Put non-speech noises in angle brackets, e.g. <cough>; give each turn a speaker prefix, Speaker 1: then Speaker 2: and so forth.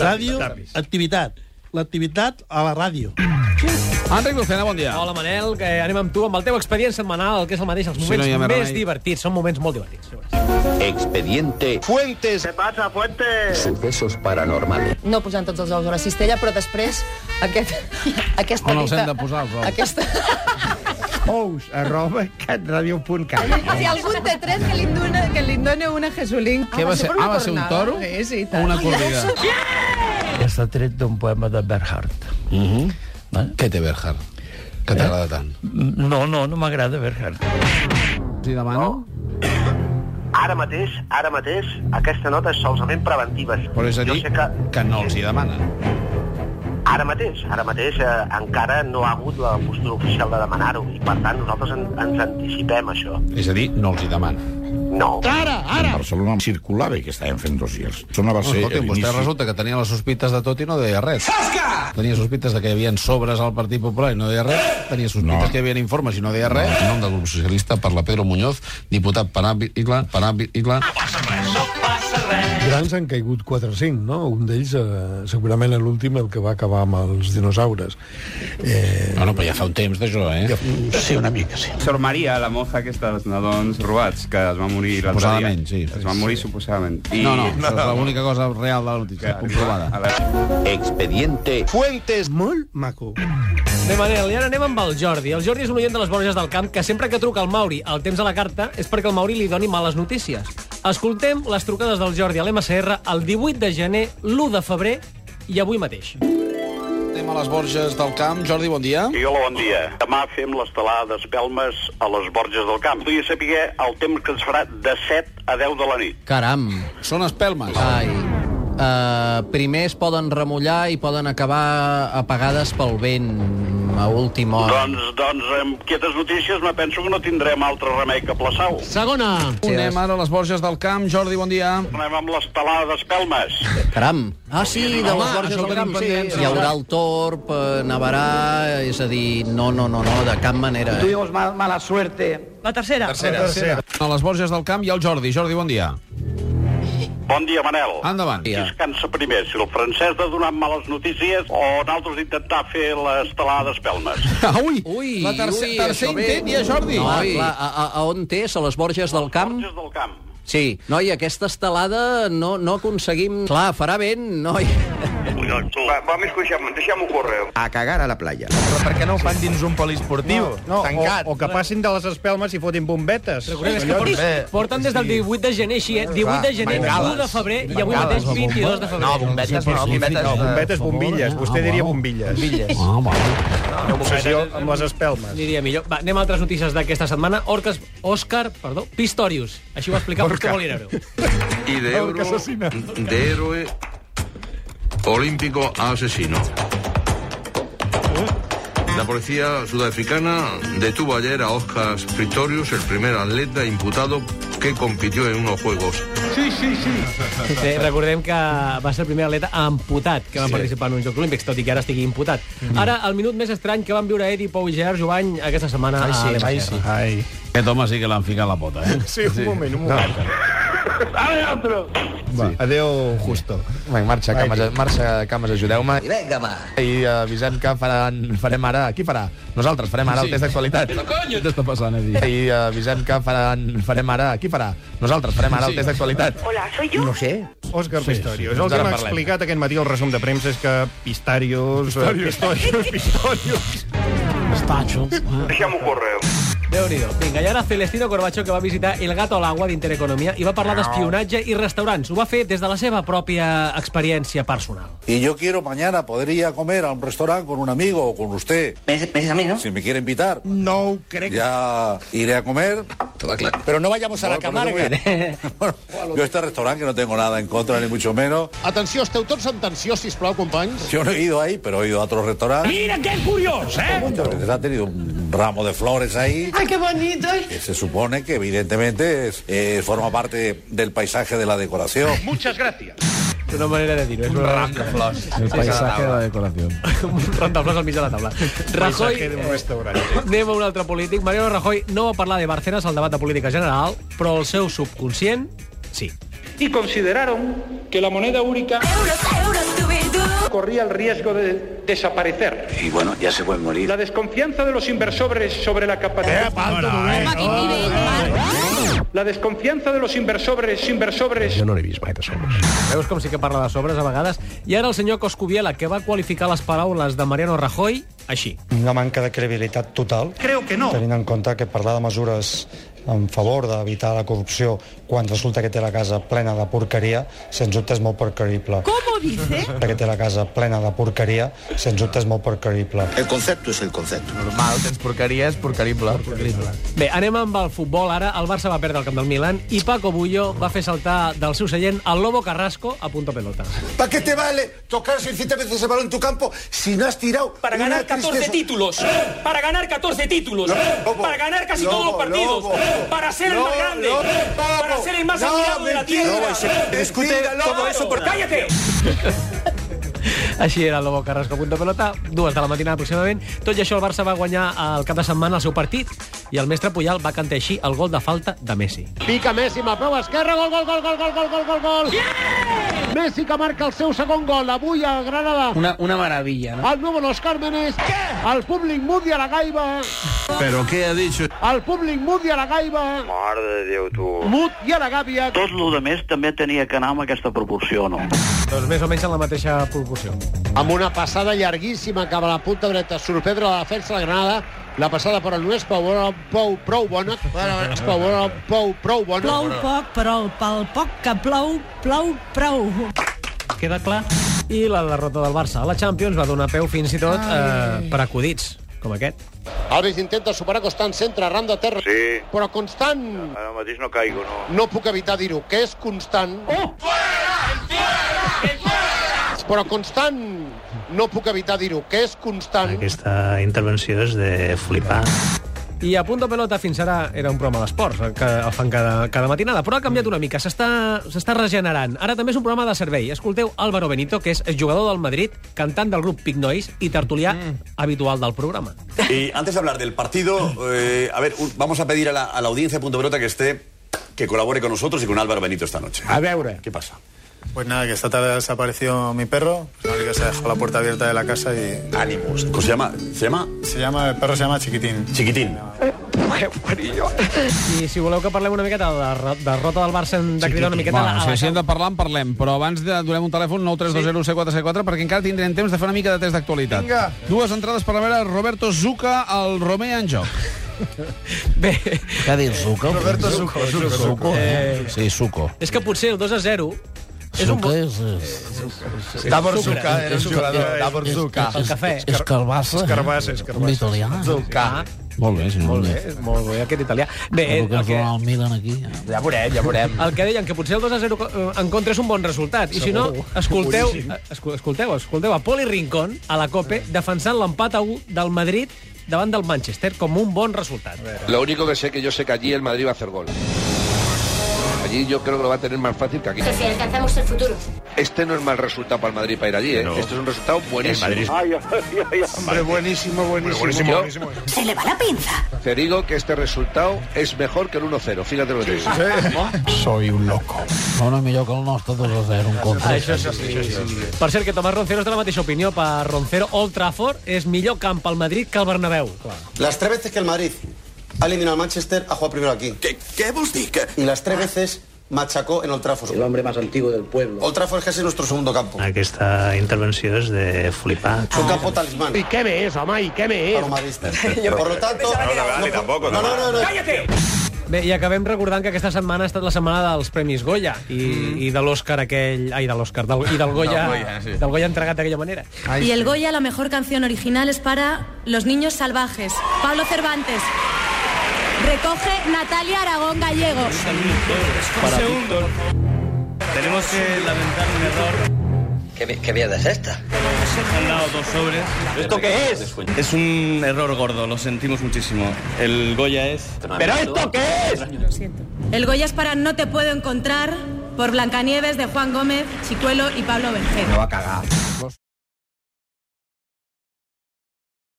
Speaker 1: Ràdio, activitat. L'activitat a la ràdio.
Speaker 2: Enric Lucena, bon dia.
Speaker 3: Hola, Manel, que anem amb tu, amb el teu expedient setmanal, que és el mateix, els
Speaker 2: no
Speaker 3: moments
Speaker 2: hi ha remei.
Speaker 3: més divertits, són moments molt divertits.
Speaker 4: Expediente
Speaker 5: ¿Qué pasa, fuente?
Speaker 4: Sucesos Paranormales.
Speaker 6: no posant tots els ous a la cistella, però després
Speaker 7: <laughs>
Speaker 6: aquest, aquesta...
Speaker 2: On els hem
Speaker 6: dita-
Speaker 2: de posar, els ous?
Speaker 6: Aquesta...
Speaker 7: <laughs> ous arroba catradio.cat.
Speaker 6: Si algú en té tres, que li en dona, que li en dona una Jesulín.
Speaker 2: Què va ser? Ah, va ser un toro?
Speaker 6: Sí, sí, i
Speaker 2: O
Speaker 6: tant.
Speaker 2: una corrida?
Speaker 8: Està tret d'un poema de Berhardt.
Speaker 9: Què té Berhard? Que t'agrada tant.
Speaker 8: No, no, no m'agrada Berhardt.
Speaker 2: T'hi demano?
Speaker 5: Ara mateix, ara mateix, aquesta nota és solament preventiva.
Speaker 2: Però és a dir,
Speaker 5: Jo sé que
Speaker 2: que no els hi demanen.
Speaker 5: ara mateix, ara mateix eh, encara no ha hagut la postura oficial de demanar-ho i per tant nosaltres en, ens anticipem a això.
Speaker 2: És a dir, no els hi demanen.
Speaker 5: No.
Speaker 10: Ara. Barcelona circulava i que estàvem fent dossiers. Això no va
Speaker 9: No,
Speaker 10: ser
Speaker 9: escolti, vostè resulta que tenia les sospites de tot i no deia res. Sasca! Tenia sospites de que hi havia sobres al Partit Popular i no deia res. Tenia sospites
Speaker 10: No.
Speaker 9: que hi havia informes i no deia res. En nom del grup socialista parla Pedro Muñoz, diputat per àmbit igla, per àmbit igla.
Speaker 11: grans han caigut 4 o 5, no? Un d'ells, eh, segurament l'últim, el que va acabar amb els dinosaures. Eh,
Speaker 9: No, no, però ja fa un temps d'això, eh?
Speaker 8: Sí, una mica, sí.
Speaker 7: Sor Maria, la moja aquesta dels nadons robats, que es va morir l'altre dia.
Speaker 9: Suposadament, sí.
Speaker 7: Es van morir suposadament. I...
Speaker 9: No, Ah. no, això és l'única cosa real de la notícia, comprovada.
Speaker 7: A veure,
Speaker 4: Expediente
Speaker 1: Fuentes. Molt maco.
Speaker 3: Bé, Manel, i ara anem amb el Jordi. El Jordi és un oient de les Borges del Camp que sempre que truca al Mauri el temps a la carta és perquè el Mauri li doni males notícies. Escoltem les trucades del Jordi a l'MCR el 18 de gener, l'1 de febrer i avui mateix.
Speaker 9: Anem a les Borges del Camp. Jordi, bon dia.
Speaker 5: I hola, bon dia. Demà fem l'estelada d'espelmes a les Borges del Camp. Podria saber el temps que ens farà de 7 a 10 de la nit.
Speaker 12: Caram.
Speaker 9: Són espelmes.
Speaker 12: Ai. Uh, primer es poden remullar i poden acabar apagades pel vent a última
Speaker 2: Ah.
Speaker 12: hora.
Speaker 5: Doncs, doncs, amb quietes notícies me penso que no tindrem altre remei que plaçar-ho.
Speaker 3: Segona.
Speaker 9: Anem ara a les Borges del Camp. Jordi, bon dia.
Speaker 5: Anem amb l'estelada d'espelmes.
Speaker 12: Caram. Ah, sí, de les Borges
Speaker 9: això ho
Speaker 12: del
Speaker 9: tenim
Speaker 12: Camp. Sí,
Speaker 9: pendent.
Speaker 12: hi haurà el torb, eh, nevarà, és a dir, no, no, no, no, de cap manera. Eh?
Speaker 6: La tercera.
Speaker 9: A les Borges del Camp hi ha el Jordi. Jordi, bon dia.
Speaker 5: Bon dia, Manel.
Speaker 9: Endavant.
Speaker 5: Qui es cansa primer, si el francès de donar males notícies o nosaltres intentar fer l'estelada d'espelmes?
Speaker 9: Ah, ui,
Speaker 12: Ui,
Speaker 9: la tercer,
Speaker 12: ui,
Speaker 9: tercer
Speaker 12: això ve.
Speaker 9: intent ja, Jordi. Ah,
Speaker 12: No,
Speaker 9: Ui.
Speaker 12: clar, a, a, a on té? A les Borges del Camp?
Speaker 5: Borges del Camp.
Speaker 12: Sí. Noi, aquesta estelada no, no aconseguim... Clar, farà vent, noi.
Speaker 13: Doncs
Speaker 5: Va, va més deixem, deixem-ho córrer.
Speaker 4: A cagar a la playa.
Speaker 7: Però per què no ho fan dins un poliesportiu?
Speaker 1: No,
Speaker 7: tancat.
Speaker 1: O, o que passin de les espelmes i fotin bombetes.
Speaker 3: Recordem, és que porten, porten des del 18 de gener, així, eh? 18 de gener,
Speaker 7: eh. Bengales.
Speaker 3: 1 de febrer i avui mateix 22 de
Speaker 7: bombetes,
Speaker 3: febrer.
Speaker 7: no, bombetes. eh.
Speaker 1: No, bombetes, bombilles. Vostè diria bombilles. Bombilles.
Speaker 9: Ah, va.
Speaker 1: Obsessió amb les espelmes.
Speaker 3: Diria millor. Va, anem a altres notícies d'aquesta setmana. Orcas, Òscar, perdó, Pistorius. Així ho va explicar Busca Molinero.
Speaker 10: Y de,
Speaker 11: que asesina.
Speaker 10: de héroe olímpico a asesino. La policía sudafricana detuvo ayer a Oscar Pistorius, el primer atleta imputado que compitió en unos Juegos.
Speaker 3: Sí, recordem que va ser el primer atleta amputat que va sí. participar en uns Jocs Olímpics, tot i que ara estigui imputat.
Speaker 1: Mhm.
Speaker 3: Mm. Ara, el minut més estrany que van viure Edi Pou i Gerard Jovany aquesta setmana ai, sí, a l'Emacer. Sí.
Speaker 1: Ai.
Speaker 9: Aquest home sí que l'han ficat la pota, eh?
Speaker 1: <laughs> Sí, un moment, un moment. Va, adéu, Justo.
Speaker 7: Vinga, marxa, cames, marxa, cames, ajudeu-me. I vinga, va. I avisem que faran, farem ara... Qui farà? Nosaltres farem ara sí. el test d'actualitat.
Speaker 9: Què t'està passant, Edi?
Speaker 7: I avisem que faran, farem ara... Qui farà? Nosaltres farem ara sí. el test d'actualitat.
Speaker 1: Òscar sí, Pistorius. Sí, el que
Speaker 7: Ara
Speaker 1: m'ha
Speaker 7: parlem.
Speaker 1: explicat aquest matí al resum de premsa és que eh, Pistarius... Pistorius. <laughs> Pistorius, Pistorius.
Speaker 5: Deixem-ho córrer.
Speaker 3: déu nhi Vinga, i ara Celestino Corbacho, que va visitar El Gato al Agua d'Intereconomia i va parlar d'espionatge i restaurants. Ho va fer des de la seva pròpia experiència personal.
Speaker 8: Y yo quiero mañana poder ir a comer a un restaurante con un amigo o con usted.
Speaker 4: Penses a mi, no?
Speaker 8: Si me quiere invitar,
Speaker 1: No ho crec.
Speaker 8: ya iré a comer. Pero no vayamos a la Camarga. Bueno, yo este restaurante que no tengo nada en contra, ni mucho menos.
Speaker 9: Atenció, esteu tots en tensió, sisplau, companys.
Speaker 8: Yo no he ido ahí, pero he ido a otros restaurantes.
Speaker 3: Mira que curiós, eh?
Speaker 8: Muchas veces ha tenido un ramo de flores ahí.
Speaker 6: Ai, que bonito.
Speaker 8: que se supone que evidentemente es- eh, forma parte del paisaje de la decoración.
Speaker 3: És una manera de dir-ho. És un ram de flors.
Speaker 9: El paisaje de la decoració.
Speaker 3: <laughs> un ram de flors al mig de la taula. Rajoy... eh,
Speaker 1: Paisaje d'un restaurant.
Speaker 3: Anem a un altre polític. Mariano Rajoy no va parlar de Barcenas al debat de política general, però el seu subconscient, sí.
Speaker 6: Euros, euros, tu
Speaker 14: corría el riesgo de desaparecer.
Speaker 4: Y bueno, ya se puede morir.
Speaker 14: La desconfianza de los inversores sobre la capacidad...
Speaker 2: Ah, eh.
Speaker 14: La desconfianza de los inversores, inversores...
Speaker 3: Jo no l'he vist mai de sobres. Veus com sí que parla de sobres a vegades? I ara el senyor Coscubiela, que va qualificar les paraules de Mariano Rajoy així.
Speaker 15: Una manca de credibilitat total.
Speaker 3: Creo que no.
Speaker 15: Tenint en compte que parlar de mesures en favor d'evitar la corrupció quan resulta que té la casa plena de porqueria, sens dubte és molt precavible.
Speaker 16: ¿Cómo dice?
Speaker 15: Que té la casa plena de porqueria, sens dubte és molt precavible.
Speaker 17: Eh,
Speaker 8: El concepto és el concepto.
Speaker 7: Normal, tens porqueria, és porquerible. porquerible.
Speaker 3: Bé, anem amb el futbol ara. El Barça va perdre el camp del Milan i Paco Bullo va fer saltar del seu seient el Lobo Carrasco a punto pelota.
Speaker 17: ¿Para qué te vale tocar 600 veces el balón en tu campo si no has tirado?
Speaker 18: Para
Speaker 17: una
Speaker 18: ganar 14
Speaker 17: tristeza?
Speaker 18: títulos. Para ganar 14 títulos.
Speaker 17: Lobo,
Speaker 18: para ganar casi
Speaker 17: Lobo,
Speaker 18: todos los partidos.
Speaker 17: Lobo.
Speaker 18: para ser el más
Speaker 17: Lobo,
Speaker 18: grande.
Speaker 17: Lobo,
Speaker 18: para ser el más
Speaker 17: No,
Speaker 18: admirado de la
Speaker 17: mentira.
Speaker 18: tierra.
Speaker 17: Lobo, se discute todo eso por-
Speaker 18: ¡Cállate!
Speaker 3: Així era el Lobo Carrasco a punto pelota, dues de la matinada aproximadament. Tot i això, el Barça va guanyar el cap de setmana el seu partit i el mestre Puyal va cantar així el gol de falta de Messi.
Speaker 19: Pica Messi amb la prova esquerra, gol, gol, gol, gol, gol, gol, gol, gol, gol. Yeah! Messi que marca el seu segon gol avui a Granada.
Speaker 20: Una, una maravilla, ¿no?
Speaker 19: El nuevo Los Cármenes. ¿Qué? El públic mundial a la gaiba.
Speaker 10: ¿Pero qué ha dicho?
Speaker 19: El públic mundial a la gaiba.
Speaker 13: Mare de Déu, tu.
Speaker 19: Mut i a la gàbia.
Speaker 13: Tot el de més també tenia que anar amb aquesta proporció, no?
Speaker 3: Doncs més o menys en la mateixa proporció.
Speaker 20: Amb una passada llarguíssima cap a la punta dreta, sorprendre la defensa de la Granada, la passada però no és prou bona, prou, prou bona, és prou bona, prou, prou bona.
Speaker 16: Plou poc, però pel poc que plou, plou prou.
Speaker 3: Queda clar? I la derrota del Barça a la Champions va donar peu fins i tot eh, per acudits, com aquest.
Speaker 20: Alves intenta superar Constant centre, ram de terra,
Speaker 13: Sí.
Speaker 20: però Constant
Speaker 13: Ara mateix no caigo, no.
Speaker 20: no puc evitar dir-ho, que és constant... Oh! Però constant, no puc evitar dir-ho, que és constant...
Speaker 21: Aquesta intervenció és de flipar.
Speaker 3: I a punt de pelota fins ara era un programa d'esports, el que el fan cada, cada matinada, però ha canviat una mica, s'està s'està regenerant. Ara també és un programa de servei. Escolteu Álvaro Benito, que és jugador del Madrid, cantant del grup Pic Nois i tertulià
Speaker 22: Mm.
Speaker 3: habitual del programa.
Speaker 23: Y antes de hablar del partido, eh, a ver, un- vamos a pedir a la, a la audiencia de Punto Pelota que esté, que colabore con nosotros y con Álvaro Benito esta noche.
Speaker 22: A veure.
Speaker 23: ¿Qué pasa?
Speaker 22: Pues nada, que esta tarde ha desaparecido mi perro. Pues nada, que se ha dejado la puerta abierta de la casa y...
Speaker 23: Ánimos. ¿Cómo se llama? ¿Se llama?
Speaker 22: Se llama, el perro se llama Chiquitín.
Speaker 23: Chiquitín.
Speaker 3: I si voleu que parlem una miqueta de la derro- derrota del Barça, hem de cridar una miqueta
Speaker 2: Bueno,
Speaker 3: a
Speaker 2: si,
Speaker 3: la,
Speaker 2: si hem de parlar, en parlem, però abans de donem un telèfon 932017474 perquè encara tindrem temps de fer una mica de test d'actualitat.
Speaker 3: Vinga.
Speaker 2: Dues entrades per veure Roberto Zucca al Romea en joc.
Speaker 3: Bé.
Speaker 2: Què ha dit Zucca?
Speaker 3: Roberto
Speaker 2: Zucco.
Speaker 3: Zucco, Zucco. Eh.
Speaker 2: Sí, Zucco.
Speaker 3: És que potser el 2 a 0 és un...
Speaker 24: Sucre és...
Speaker 3: Sí. Davor Zucca era un
Speaker 24: Sucre.
Speaker 3: jugador, Davor
Speaker 24: És-
Speaker 3: Zucca.
Speaker 24: és-
Speaker 3: El cafè.
Speaker 24: És carbassa.
Speaker 3: És carbassa, és carbassa.
Speaker 24: Un italià.
Speaker 3: Zucca.
Speaker 2: Molt bé, senyor.
Speaker 3: Molt bé, molt bé, aquest italià. Bé,
Speaker 24: El que
Speaker 3: el
Speaker 24: ens
Speaker 3: que,
Speaker 24: donarà el Milan aquí.
Speaker 3: Ja veurem, ja veurem. El que deien, que potser el 2 a 0 co- eh, en contra és un bon resultat. I si no,
Speaker 24: Segur.
Speaker 3: escolteu, eh,
Speaker 24: Boníssim.
Speaker 3: escol- escolteu, escolteu a Poli Rincón, a la COPE, defensant l'empat a 1 del Madrid davant del Manchester com un bon resultat.
Speaker 25: Lo único que sé que yo sé que allí el Madrid va a hacer gol. Allí yo creo que lo va a tener más fácil que aquí.
Speaker 26: si alcanzamos el futuro.
Speaker 25: Este no es mal resultado para el Madrid para ir allí, ¿eh? Este es un resultado buenísimo. El Madrid-
Speaker 26: Ay,
Speaker 25: Hombre, buenísimo, buenísimo.
Speaker 26: Yo-
Speaker 25: Se le va la pinza. Te digo que este resultado es mejor que el 1-0. Fíjate lo que te digo.
Speaker 24: Soy un loco. Bueno, millor que el nostre 2 a 0 en contra.
Speaker 3: Ah, això sí, això sí. Per cert, que Tomàs Roncero és de la mateixa opinió. Per Roncero, Old Trafford és millor camp al Madrid que al Bernabéu.
Speaker 27: Las tres veces que el Madrid ha eliminado al Manchester ha jugado primero aquí. ¿Qué, qué Y las tres veces machacó en Old Trafford. El hombre más antiguo del pueblo. Old Trafford que es nuestro segundo campo.
Speaker 21: Aquesta intervenció és de flipar.
Speaker 27: Su campo talismán.
Speaker 19: ¿Y qué me es, mamá? ¿Y qué me es?
Speaker 27: Por lo tanto...
Speaker 23: no, tampoco,
Speaker 27: no, no, no, no.
Speaker 3: Bé, i acabem recordant que aquesta setmana ha estat la setmana dels Premis Goya i, mm. i de l'Òscar aquell... Ai, de l'Òscar, del, i del Goya,
Speaker 26: Del Goya, sí.
Speaker 3: del Goya entregat d'aquella manera.
Speaker 26: Y el Goya, la mejor canción original es para Los Niños Salvajes. Pablo Cervantes. Recoge Natalia Aragón Gallegos.
Speaker 28: Un segundo. Tenemos que lamentar un error.
Speaker 4: ¿Qué, qué mierda es esta?
Speaker 28: Nos han dado dos sobres. ¿Esto qué es? Es un error gordo, lo sentimos muchísimo. El Goya es...
Speaker 26: qué es? Lo siento. El Goya es para No te puedo encontrar por Blancanieves de Juan Gómez, Chicuelo y Pablo Berger.
Speaker 2: cagar.